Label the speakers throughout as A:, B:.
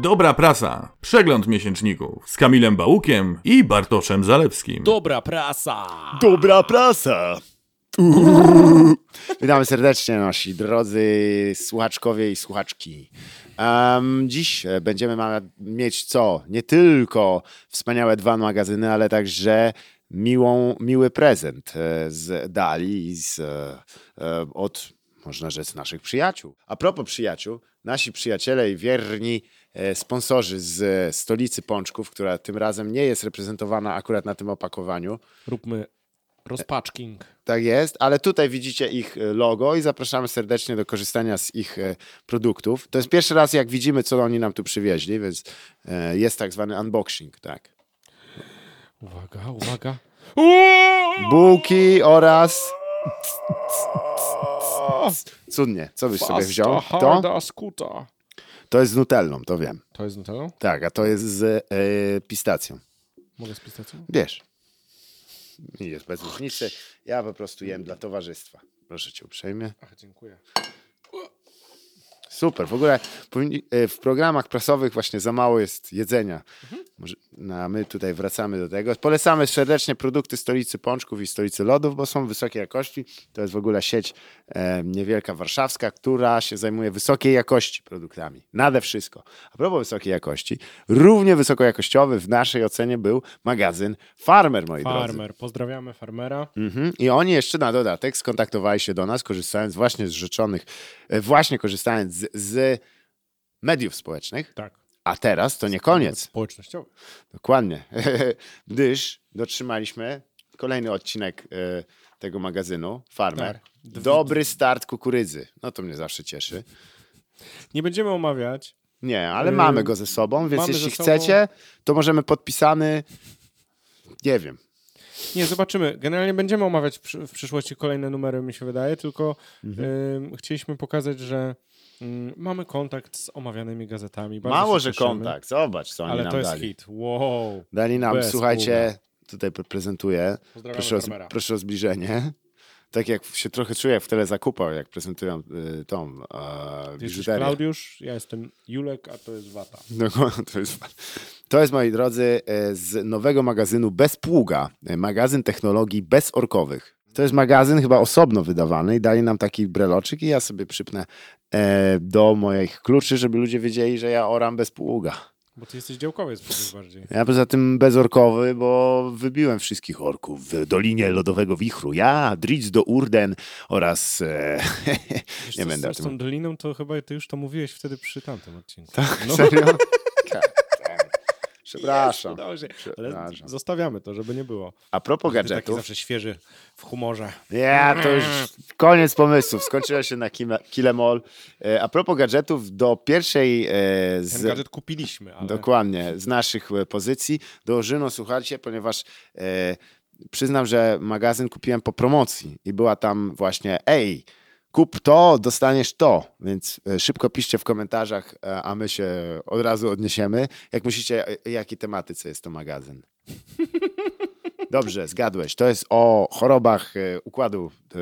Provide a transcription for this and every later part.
A: Dobra prasa. Przegląd miesięczników z Kamilem Bałukiem i Bartoszem Zalewskim.
B: Dobra prasa!
C: Dobra prasa! Witamy serdecznie nasi drodzy słuchaczkowie i słuchaczki. Em, dziś e, będziemy ma- mieć co? Nie tylko wspaniałe dwa magazyny, ale także miłą, miły prezent e, z Dali i z, e, e, od, można rzec, naszych przyjaciół. A propos przyjaciół, nasi przyjaciele i wierni e, sponsorzy z e, stolicy Pączków, która tym razem nie jest reprezentowana akurat na tym opakowaniu,
B: Róbmy rozpaczking.
C: tak jest, ale tutaj widzicie ich e, logo i zapraszamy serdecznie do korzystania z ich e, produktów. To jest pierwszy raz, jak widzimy, co oni nam tu przywieźli, więc e, jest tak zwany unboxing, tak.
B: Uwaga, uwaga.
C: Bułki oraz... Cudnie, co byś sobie wziął? To,
B: Harda skuta.
C: to jest z nutellą, to wiem.
B: To jest Nutella?
C: Tak, a to jest z e, pistacją.
B: Mogę z pistacją?
C: Wiesz. Nie jest bez różnicy. Ja po prostu jem dla towarzystwa. Proszę cię uprzejmie.
B: Ach, dziękuję.
C: Super, w ogóle powinni, e, w programach prasowych właśnie za mało jest jedzenia. Może, no, a my tutaj wracamy do tego. Polecamy serdecznie produkty Stolicy Pączków i Stolicy Lodów, bo są wysokiej jakości. To jest w ogóle sieć e, niewielka warszawska, która się zajmuje wysokiej jakości produktami. Nade wszystko. A propos wysokiej jakości, równie wysokojakościowy w naszej ocenie był magazyn Farmer, moi drodzy.
B: Farmer, pozdrawiamy farmera.
C: Mhm. I oni jeszcze na dodatek skontaktowali się do nas, korzystając właśnie z rzeczonych, e, właśnie korzystając z, z mediów społecznych.
B: Tak.
C: A teraz to nie koniec.
B: Społecznościowy.
C: Dokładnie. Gdyż dotrzymaliśmy kolejny odcinek e, tego magazynu Farmer.
B: Tak. Dw-
C: Dobry start kukurydzy. No to mnie zawsze cieszy.
B: Nie będziemy omawiać.
C: Nie, ale
B: Yy,
C: mamy go ze sobą, więc
B: mamy
C: jeśli
B: ze sobą-
C: chcecie, to możemy podpisany. Nie wiem.
B: Nie, zobaczymy. Generalnie będziemy omawiać w przy- w przyszłości kolejne numery, mi się wydaje, tylko ym, chcieliśmy pokazać, że ym, mamy kontakt z omawianymi gazetami. Bardzo
C: Mało,
B: się
C: że
B: cieszymy,
C: kontakt. Zobacz, co oni
B: Ale
C: nam
B: to jest
C: dali.
B: hit. Wow.
C: Dali nam,
B: Bez
C: słuchajcie, tutaj pre- prezentuję.
B: Pozdrawiamy
C: Proszę o, z-
B: farmera.
C: proszę o zbliżenie. Tak jak się trochę czuję jak w telezakupach, jak prezentują y, tą e,
B: Ty jesteś
C: biżuterię.
B: Klaudiusz, ja jestem Julek, a to jest Wata.
C: No, to, jest, to jest, moi drodzy, e, z nowego magazynu Bez Pługa. e, Magazyn technologii bezorkowych. To jest magazyn chyba osobno wydawany i dali nam taki breloczyk i ja sobie przypnę e, do moich kluczy, żeby ludzie wiedzieli, że ja oram bez pługa.
B: Bo ty jesteś działkowiec przecież bardziej.
C: Ja poza tym bezorkowy, bo wybiłem wszystkich orków w Dolinie Lodowego Wichru. Ja, Dritz do Urden oraz... E,
B: Wiesz,
C: nie
B: co,
C: będę o
B: z, z tą
C: tym...
B: doliną to chyba ty już to mówiłeś wtedy przy tamtym odcinku.
C: No. Serio? tak, tak. Przepraszam.
B: Jest, udało się. Ale
C: Przepraszam.
B: zostawiamy to, żeby nie było.
C: A propos
B: Ty taki
C: gadżetów,
B: zawsze świeży w humorze.
C: ja to już koniec pomysłów. Skończyłem się na kime- Kilemol. E, a propos gadżetów, do pierwszej e,
B: Ten
C: z,
B: gadżet kupiliśmy, ale
C: Tak. Dokładnie, z naszych e, pozycji. Dołożyno, słuchajcie, ponieważ e, przyznam, że magazyn kupiłem po promocji i była tam właśnie, ej, kup to, dostaniesz to. Więc e, szybko piszcie w komentarzach, e, a my się od razu odniesiemy. Jak myślicie, e, jakiej tematyce jest to magazyn? Dobrze, zgadłeś. To jest o chorobach e, układu e,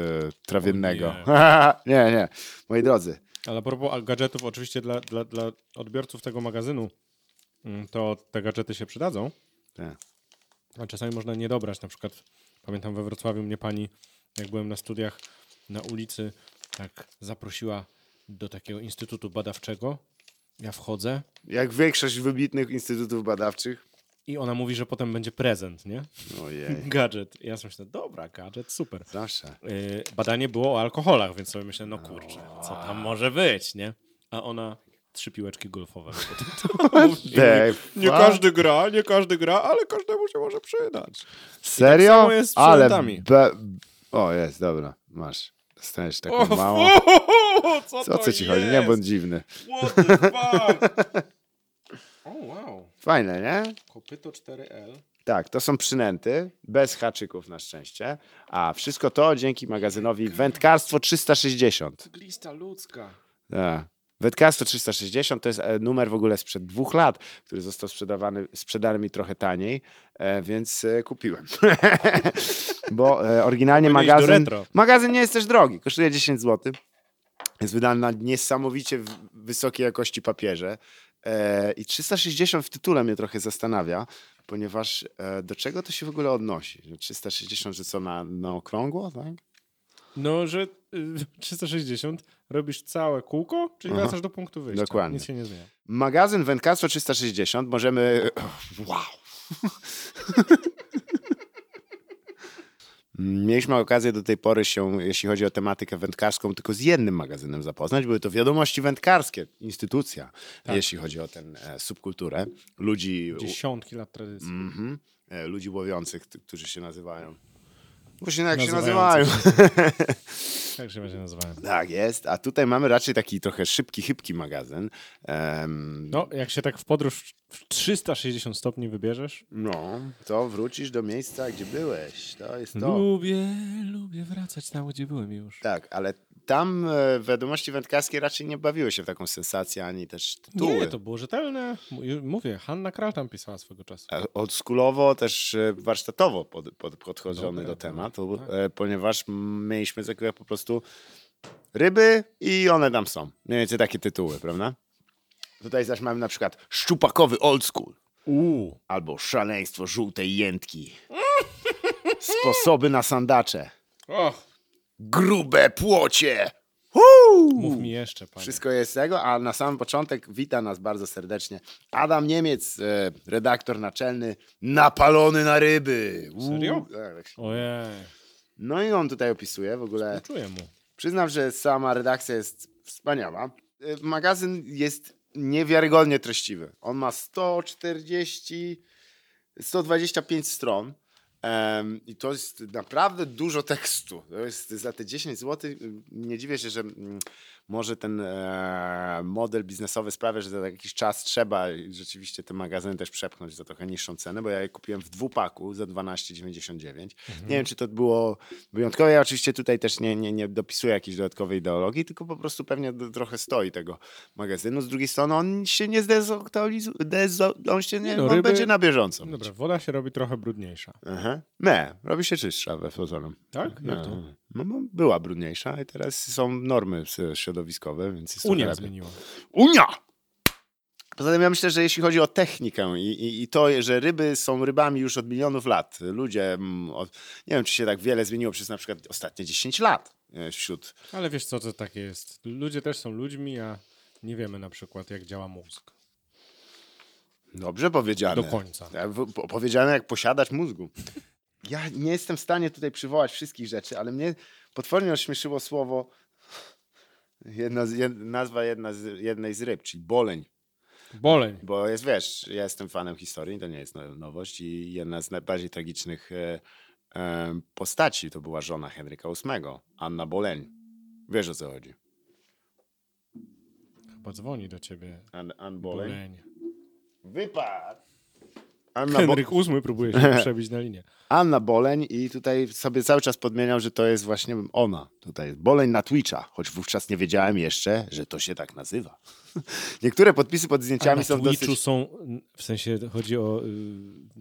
C: trawiennego. Nie. nie, nie. Moi drodzy,
B: Ale a propos a gadżetów, oczywiście dla, dla, dla odbiorców tego magazynu, mm, to te gadżety się przydadzą.
C: Tak.
B: A czasami można nie dobrać. Na przykład pamiętam we Wrocławiu mnie pani, jak byłem na studiach na ulicy, tak zaprosiła do takiego instytutu badawczego. Ja wchodzę
C: jak większość wybitnych instytutów badawczych,
B: i ona mówi, że potem będzie prezent, nie?
C: ojej,
B: Gadżet. I ja sobie myślę, dobra, gadżet, super.
C: zawsze.
B: Yy, badanie było o alkoholach, więc sobie myślę, no kurczę, co tam może być, nie? A ona trzy piłeczki golfowe.
C: The
B: Nie
C: fuck?
B: każdy gra, nie każdy gra, ale każdemu się może przydać.
C: Serio?
B: Tak samo jest z
C: Ale
B: sprzętami.
C: be... O, jest, dobra, masz. Dostaniesz taką małą.
B: co,
C: Co, co ci chodzi? Nie bądź dziwny.
B: What the fuck? O wow,
C: Fajne, nie?
B: kopyto 4L.
C: Tak, to są przynęty, bez haczyków na szczęście. A wszystko to dzięki magazynowi Wędkarstwo 360.
B: Glista ludzka.
C: Tak. Wędkarstwo 360 to jest e, numer w ogóle sprzed dwóch lat, który został sprzedawany, sprzedany mi trochę taniej, e, więc e, kupiłem. Bo e, oryginalnie
B: Powinno iść do
C: magazyn,
B: retro.
C: magazyn nie jest też drogi, kosztuje 10 zł. Jest wydany na niesamowicie w- wysokiej jakości papierze. E, I 360 w tytule mnie trochę zastanawia, ponieważ e, do czego to się w ogóle odnosi? Że 360, że co na, na okrągło, tak?
B: No, że y, 360 robisz całe kółko, czyli
C: Aha.
B: wracasz do punktu wyjścia.
C: Dokładnie.
B: Nic się nie zmienia.
C: Magazyn Wędkarstwo 360 możemy. Wow! Mieliśmy okazję do tej pory się, jeśli chodzi o tematykę wędkarską, tylko z jednym magazynem zapoznać. Były to wiadomości wędkarskie, instytucja, jeśli chodzi o tę e, subkulturę ludzi,
B: Dziesiątki lat tradycji.
C: mhm, e, ludzi łowiących, t- którzy się nazywają. Właśnie jak się nazywają.
B: Nazywających Tak się będzie nazywałem.
C: Tak jest, a tutaj mamy raczej taki trochę szybki, chybki magazyn. Em,
B: No, jak się tak w podróż w 360 stopni wybierzesz.
C: No, to wrócisz do miejsca, gdzie byłeś. To jest to.
B: Lubię, lubię wracać tam, gdzie byłem już.
C: Tak, ale tam e, wiadomości wędkarskie raczej nie bawiły się w taką sensację, ani też tytuły.
B: Nie, to było rzetelne. M- Mówię, Hanna Kral tam pisała swego czasu.
C: E, Oldschoolowo też e, warsztatowo pod, pod, podchodzony
B: Dobra,
C: do
B: dobra,
C: tematu,
B: tak.
C: e, ponieważ mieliśmy zakrywać po prostu ryby i one tam są. Mniej więcej takie tytuły, prawda? Tutaj zaś mamy na przykład szczupakowy old school.
B: Uuu.
C: Albo szaleństwo żółtej jętki. Sposoby na sandacze.
B: Och,
C: grube płocie.
B: mów mi jeszcze, panie.
C: Wszystko jest tego, a na sam początek wita nas bardzo serdecznie Adam Niemiec, e, redaktor naczelny, napalony na ryby. Uuu,
B: Serio?
C: tak.
B: Ojej,
C: No i on tutaj opisuje w ogóle.
B: czuję mu.
C: Przyznam, że sama redakcja jest wspaniała. E, Magazyn jest niewiarygodnie treściwy. On ma 140, 125 stron. Em, I to jest naprawdę dużo tekstu. To jest za te 10 zł. Nie dziwię się, że mm, może ten e, model biznesowy sprawia, że za jakiś czas trzeba rzeczywiście te magazyny też przepchnąć za trochę niższą cenę, bo ja je kupiłem w dwupaku za 12,99.
B: Mhm.
C: Nie wiem, czy to było wyjątkowe. Ja oczywiście tutaj też nie, nie, nie dopisuję jakiejś dodatkowej ideologii, tylko po prostu pewnie d- trochę stoi tego magazynu. Z drugiej strony on się nie zdezaktualizuje, dezo- on się nie,
B: Nie no,
C: on
B: ryby-
C: będzie na bieżąco.
B: Dobra, woda się robi trochę brudniejsza.
C: Aha. Nie, robi się czystsza we pozorom.
B: Tak? Jak to?
C: No, no, bo była brudniejsza i teraz są normy s- środowiskowe, więc jest
B: Unia
C: trochę lepiej.
B: zmieniła.
C: Unia! Poza tym ja myślę, że jeśli chodzi o technikę i, i, i to, że ryby są rybami już od milionów lat, ludzie, mm, od, nie wiem czy się tak wiele zmieniło przez na przykład ostatnie 10 lat e, wśród
B: Ale wiesz co, to tak jest. Ludzie też są ludźmi, a nie wiemy na przykład, jak działa mózg.
C: Dobrze powiedziane.
B: Do końca.
C: Ja E, w- po- Powiedziane jak posiadacz mózgu. Ja nie jestem w stanie tutaj przywołać wszystkich rzeczy, ale mnie potwornie ośmieszyło słowo, jedna z, jed, nazwa jedna z, jednej z ryb, czyli boleń.
B: Boleń.
C: Bo jest, wiesz, ja jestem fanem historii, to nie jest no- nowość i jedna z najbardziej tragicznych e, e, postaci to była żona Henryka VIII, Anna Boleń. Wiesz o co chodzi.
B: Chyba dzwoni do ciebie.
C: An, Ann Boleń.
B: Boleń.
C: Wypadł! Anna, Bo-
B: Henryk VIII próbuje się przebić na linię.
C: Anna Boleń i tutaj sobie cały czas podmieniał, że to jest właśnie ona. Tutaj jest Boleń na Twitcha, choć wówczas nie wiedziałem jeszcze, że to się tak nazywa. Niektóre podpisy pod
B: A
C: zdjęciami
B: na
C: są
B: Twitchu
C: dosyć...
B: są, w sensie chodzi o y,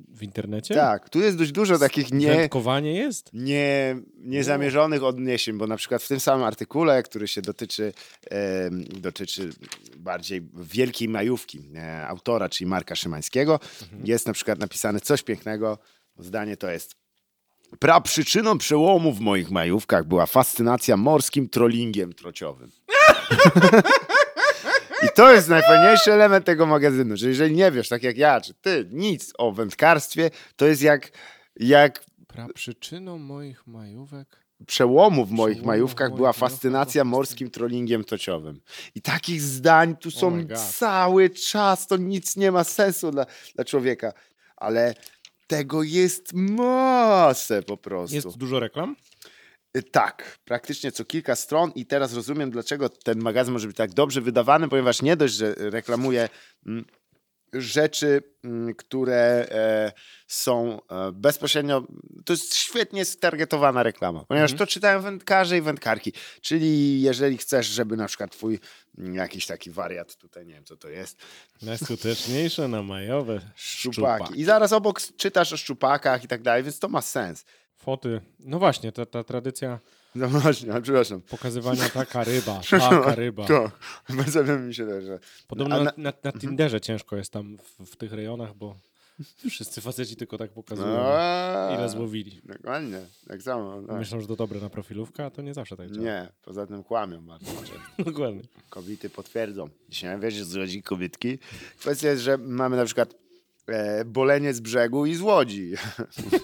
B: w internecie?
C: Tak, tu jest dość dużo takich nie...
B: Wędkowanie jest?
C: nie, niezamierzonych odniesień, bo na przykład w tym samym artykule, który się dotyczy, em, dotyczy bardziej wielkiej majówki e, autora, czyli Marka Szymańskiego, jest na przykład napisane coś pięknego. Zdanie to jest. Pra przyczyną przełomu w moich majówkach była fascynacja morskim trollingiem trociowym. I to jest najfajniejszy element tego magazynu, że jeżeli nie wiesz, tak jak ja, czy ty, nic o wędkarstwie, to jest jak, jak
B: Pra przyczyną moich majówek.
C: przełomu w moich
B: Przełomu w
C: majówkach
B: moich
C: była
B: majówkach
C: fascynacja
B: była
C: morskim trollingiem tociowym. I takich zdań tu są
B: Oh my God.
C: cały czas, to nic nie ma sensu dla, dla człowieka, ale tego jest masę po prostu.
B: Jest dużo reklam?
C: Y, Tak, praktycznie co kilka stron i teraz rozumiem, dlaczego ten magazyn może być tak dobrze wydawany, ponieważ nie dość, że reklamuje mm, rzeczy, mm, które e, są e, bezpośrednio, to jest świetnie stargetowana reklama, ponieważ to czytają wędkarze i wędkarki, czyli jeżeli chcesz, żeby na przykład twój mm, jakiś taki wariat, tutaj nie wiem co to jest,
B: Najskuteczniejsze na majowe
C: szczupaki i zaraz obok czytasz o szczupakach i tak dalej, więc to ma sens.
B: Foty. No właśnie, ta, ta tradycja
C: No właśnie, ale przepraszam.
B: Pokazywania taka ryba, taka ryba.
C: No, To, bardzo mi się też, że...
B: Podobno
C: A
B: na,
C: na-
B: na, na Tinderze ciężko jest tam w, w tych rejonach, bo wszyscy faceci tylko tak pokazują,
C: A,
B: ile złowili.
C: No, Dokładnie, tak samo. Tak.
B: Myślą, że to dobre na profilówkę, a to nie zawsze tak działa.
C: Nie, poza tym kłamią bardzo często.
B: Dokładnie.
C: Kobiety potwierdzą. Dzisiaj wiesz, że z Łodzi kobietki. Kwestia jest, że mamy na przykład e, bolenie z brzegu i z Łodzi.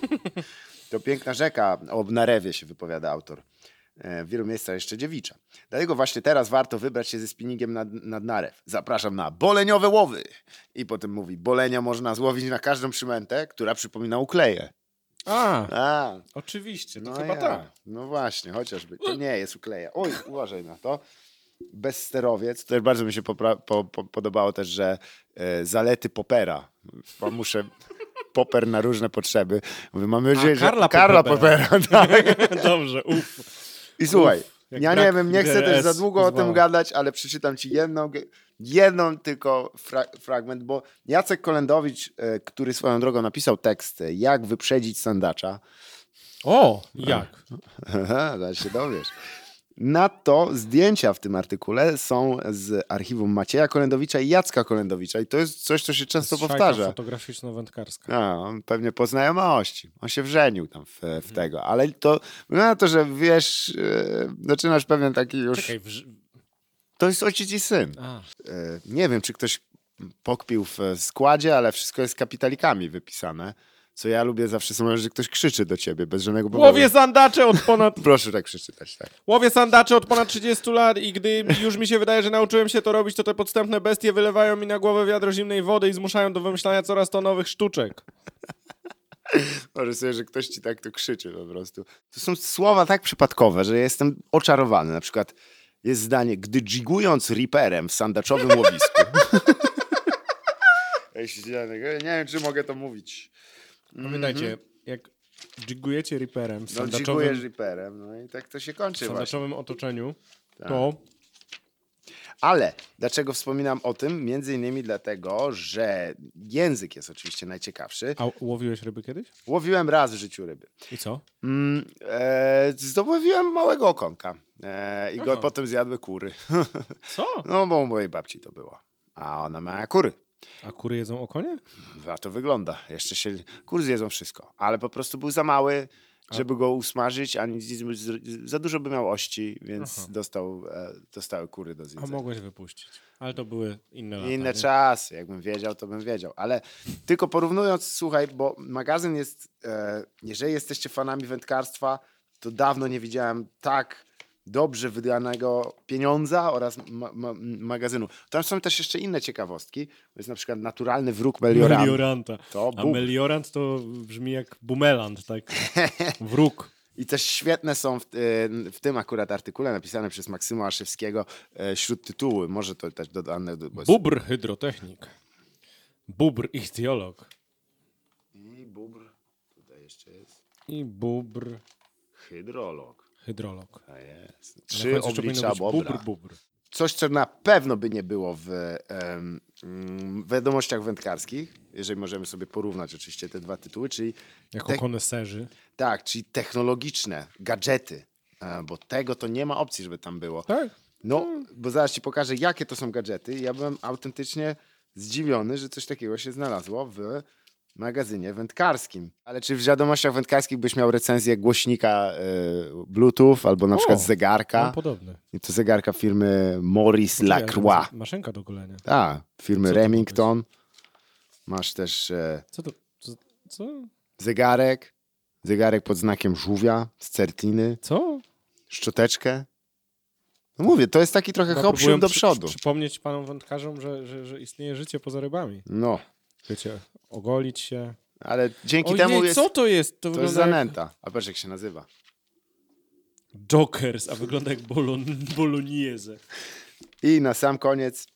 C: to piękna rzeka, o Narewie się wypowiada autor. E, w wielu miejscach jeszcze dziewicza. Dlatego właśnie teraz warto wybrać się ze spinningiem nad, nad Narew. Zapraszam na boleniowe łowy. I potem mówi, bolenia można złowić na każdą przymętę, która przypomina ukleję.
B: A,
C: A,
B: oczywiście, to
C: no
B: chyba
C: ja.
B: tak.
C: No właśnie, chociażby. To nie jest ukleja. Oj, uważaj na to. Bezsterowiec. Też bardzo mi się popra- po, po, podobało też, że e, zalety popera. Bo muszę poper na różne potrzeby. Mówię, mam nadzieję, że...
B: Karla Popera.
C: popera. tak.
B: Dobrze, uff.
C: I słuchaj,
B: jak tak
C: ja
B: brak
C: nie wiem, nie chcę też za
B: IDS
C: długo o
B: pozwala.
C: tym gadać, ale przeczytam ci jedną, ge- jedną tylko fra fragment, bo Jacek Kolendowicz, e, który swoją drogą napisał tekst e, Jak wyprzedzić sandacza,
B: O, jak?
C: Aha, zaraz się dowiesz. Nadto zdjęcia w tym artykule są z archiwum Macieja Kolendowicza i Jacka Kolendowicza. I to jest coś, co się często
B: Strzajka
C: powtarza.
B: fotograficzno-wędkarska.
C: A, on pewnie po znajomości. On się wrzenił tam w, w tego. Ale to, no to, że wiesz, e, zaczynasz pewien taki już...
B: Czekaj, wrz...
C: To jest ojciec i syn.
B: A,
C: E, nie wiem, czy ktoś pokpił w e, składzie, ale wszystko jest kapitalikami wypisane. Co ja lubię zawsze są, że ktoś krzyczy do ciebie bez żadnego powodu.
B: Łowię sandacze od ponad,
C: Proszę tak przeczytać, tak.
B: łowię sandacze od ponad 30 lat i gdy już mi się wydaje, że nauczyłem się to robić, to te podstępne bestie wylewają mi na głowę wiadro zimnej wody i zmuszają do wymyślania coraz to nowych sztuczek.
C: Może sobie, że ktoś ci tak to krzyczy po prostu. To są słowa tak przypadkowe, że jestem oczarowany. Na przykład jest zdanie, gdy dżigując riperem w sandaczowym łowisku. Ej, się dzielę, nie wiem, czy mogę to mówić.
B: Pamiętajcie, jak dżigujecie riperem w
C: Mhm. No,
B: sandaczowym,
C: dżigujesz riperem, no i tak to się kończy właśnie. Tak.
B: sandaczowym otoczeniu, to
C: Ale dlaczego wspominam o tym? Między innymi dlatego, że język jest oczywiście najciekawszy.
B: A łowiłeś ryby kiedyś?
C: Łowiłem raz w życiu ryby.
B: I co?
C: Mm, e, zdobyłem małego okonka e, i go
B: Aha.
C: potem zjadły kury.
B: Co?
C: No, bo u mojej babci to było. A ona ma kury.
B: A kury jedzą okonie?
C: A to wygląda. Jeszcze się. Kur zjedzą wszystko. Ale po prostu był za mały, żeby go usmażyć, ani z- z- za dużo by miał ości, więc dostał, e, dostały kury do
B: A
C: zjedzenia.
B: mogłeś wypuścić. Ale to były inne lata.
C: Inne
B: nie?
C: czasy. Jakbym wiedział, to bym wiedział. Ale tylko porównując, słuchaj, bo magazyn jest. E, jeżeli jesteście fanami wędkarstwa, to dawno nie widziałem tak dobrze wydanego pieniądza oraz ma ma magazynu. Tam są też jeszcze inne ciekawostki. To jest na przykład naturalny wróg Meliorana.
B: Melioranta.
C: To
B: A
C: bum.
B: meliorant to brzmi jak bumeland, tak? Wróg.
C: I też świetne są w, y, w tym akurat artykule napisane przez Maksyma Aszewskiego e, śród tytuły. Może to też dodane. do- Bo jest-
B: Bubr hydrotechnik. Bubr ichtiolog.
C: I bubr. Tutaj jeszcze jest.
B: I bubr
C: Hydrolog.
B: hydrolog.
C: A jest.
B: Na
C: Trzy
B: końcu jeszcze powinno
C: oblicza
B: być
C: bobra.
B: Bubr, bubr.
C: Coś, co na pewno by nie było w em, mm, wiadomościach wędkarskich, jeżeli możemy sobie porównać oczywiście te dwa tytuły, czyli
B: Jako
C: Te-
B: koneserzy.
C: tak, czyli technologiczne gadżety, e, bo tego to nie ma opcji, żeby tam było.
B: Tak.
C: No, bo zaraz ci pokażę, jakie to są gadżety. Ja byłem autentycznie zdziwiony, że coś takiego się znalazło w magazynie wędkarskim. Ale czy w wiadomościach wędkarskich byś miał recenzję głośnika y, Bluetooth albo na
B: O,
C: przykład zegarka?
B: Mam podobne.
C: I to zegarka firmy Maurice Lacroix.
B: Maszynka do golenia.
C: A, firmy
B: Co to
C: Remington. Masz też e,
B: Co to? Co? Co?
C: zegarek. Zegarek pod znakiem żółwia z certiny.
B: co?
C: Szczoteczkę. No mówię, to jest taki trochę
B: Chyba
C: hop sił
B: próbuję
C: do
B: przy-
C: przodu.
B: przy- Przypomnieć panom wędkarzom, że, że, że istnieje życie poza rybami.
C: No,
B: Wiecie, ogolić się.
C: ale dzięki
B: Ojej,
C: temu jest...
B: co to jest? To,
C: To jest
B: wygląda jak
C: zanęta. A patrz jak się nazywa.
B: Jokers, a wygląda jak bolon, bolonieze.
C: I na sam koniec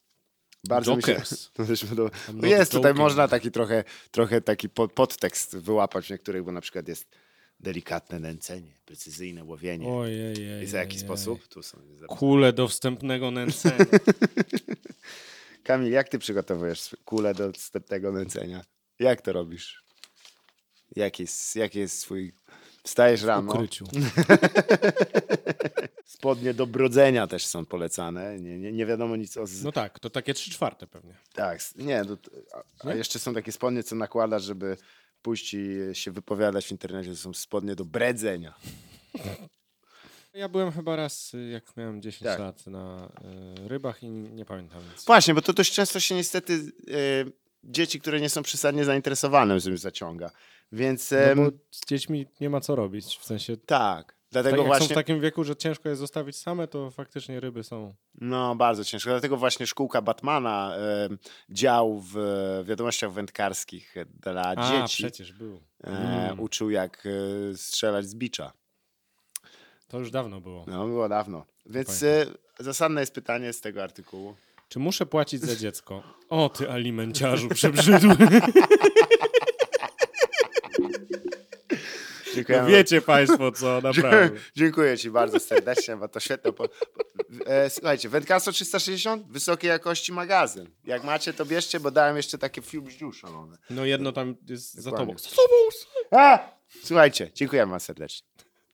C: bardzo mi się...
B: Jokers.
C: To też podoba.
B: I'm
C: Bo
B: not
C: Jest tutaj,
B: joking.
C: można taki trochę, trochę taki po- podtekst wyłapać w niektórych, bo na przykład jest delikatne nęcenie, precyzyjne łowienie.
B: Ojej.
C: I za jaki sposób? Tu są.
B: Kule do wstępnego nęcenia.
C: Kamil, jak ty przygotowujesz kulę do wstępnego nęcenia? Jak to robisz? Jaki jest, jaki jest swój Stajesz
B: w
C: rano.
B: ukryciu.
C: Spodnie do brodzenia też są polecane. Nie, nie, nie wiadomo nic o. Z...
B: No tak, to takie trzy czwarte pewnie.
C: Tak, s- nie. To, a, a jeszcze są takie spodnie, co nakładasz, żeby pójść i się wypowiadać w internecie. To są spodnie do bredzenia.
B: Ja byłem chyba raz, y, jak miałem 10
C: Tak.
B: lat na y, rybach i nie pamiętam nic.
C: Właśnie, bo to dość często się niestety y, dzieci, które nie są przesadnie zainteresowane, tym zaciąga. Więc
B: No
C: em,
B: bo z dziećmi nie ma co robić, w sensie
C: tak. Dlatego
B: tak, jak
C: właśnie.
B: są w takim wieku, że ciężko je zostawić same, to faktycznie ryby są.
C: No, bardzo ciężko. Dlatego właśnie szkółka Batmana, em, dział w e, wiadomościach wędkarskich dla
B: A,
C: dzieci,
B: przecież był.
C: e,
B: Mm.
C: uczył jak e, strzelać z bicza.
B: To już dawno było.
C: No, było dawno. Więc e, zasadne jest pytanie z tego artykułu.
B: Czy muszę płacić za dziecko? O, ty alimenciarzu przebrzydły.
C: Dziękujemy.
B: No wiecie państwo co, naprawdę.
C: Dziękuję ci bardzo serdecznie, bo to świetne. Po, po, e, słuchajcie, Wędkarstwo 360, wysokiej jakości magazyn. Jak macie, to bierzcie, bo dałem jeszcze takie fiubździu szalone.
B: No jedno tam jest za
C: Dokładnie.
B: tobą. Za tobą!
C: A! Słuchajcie, dziękujemy wam serdecznie.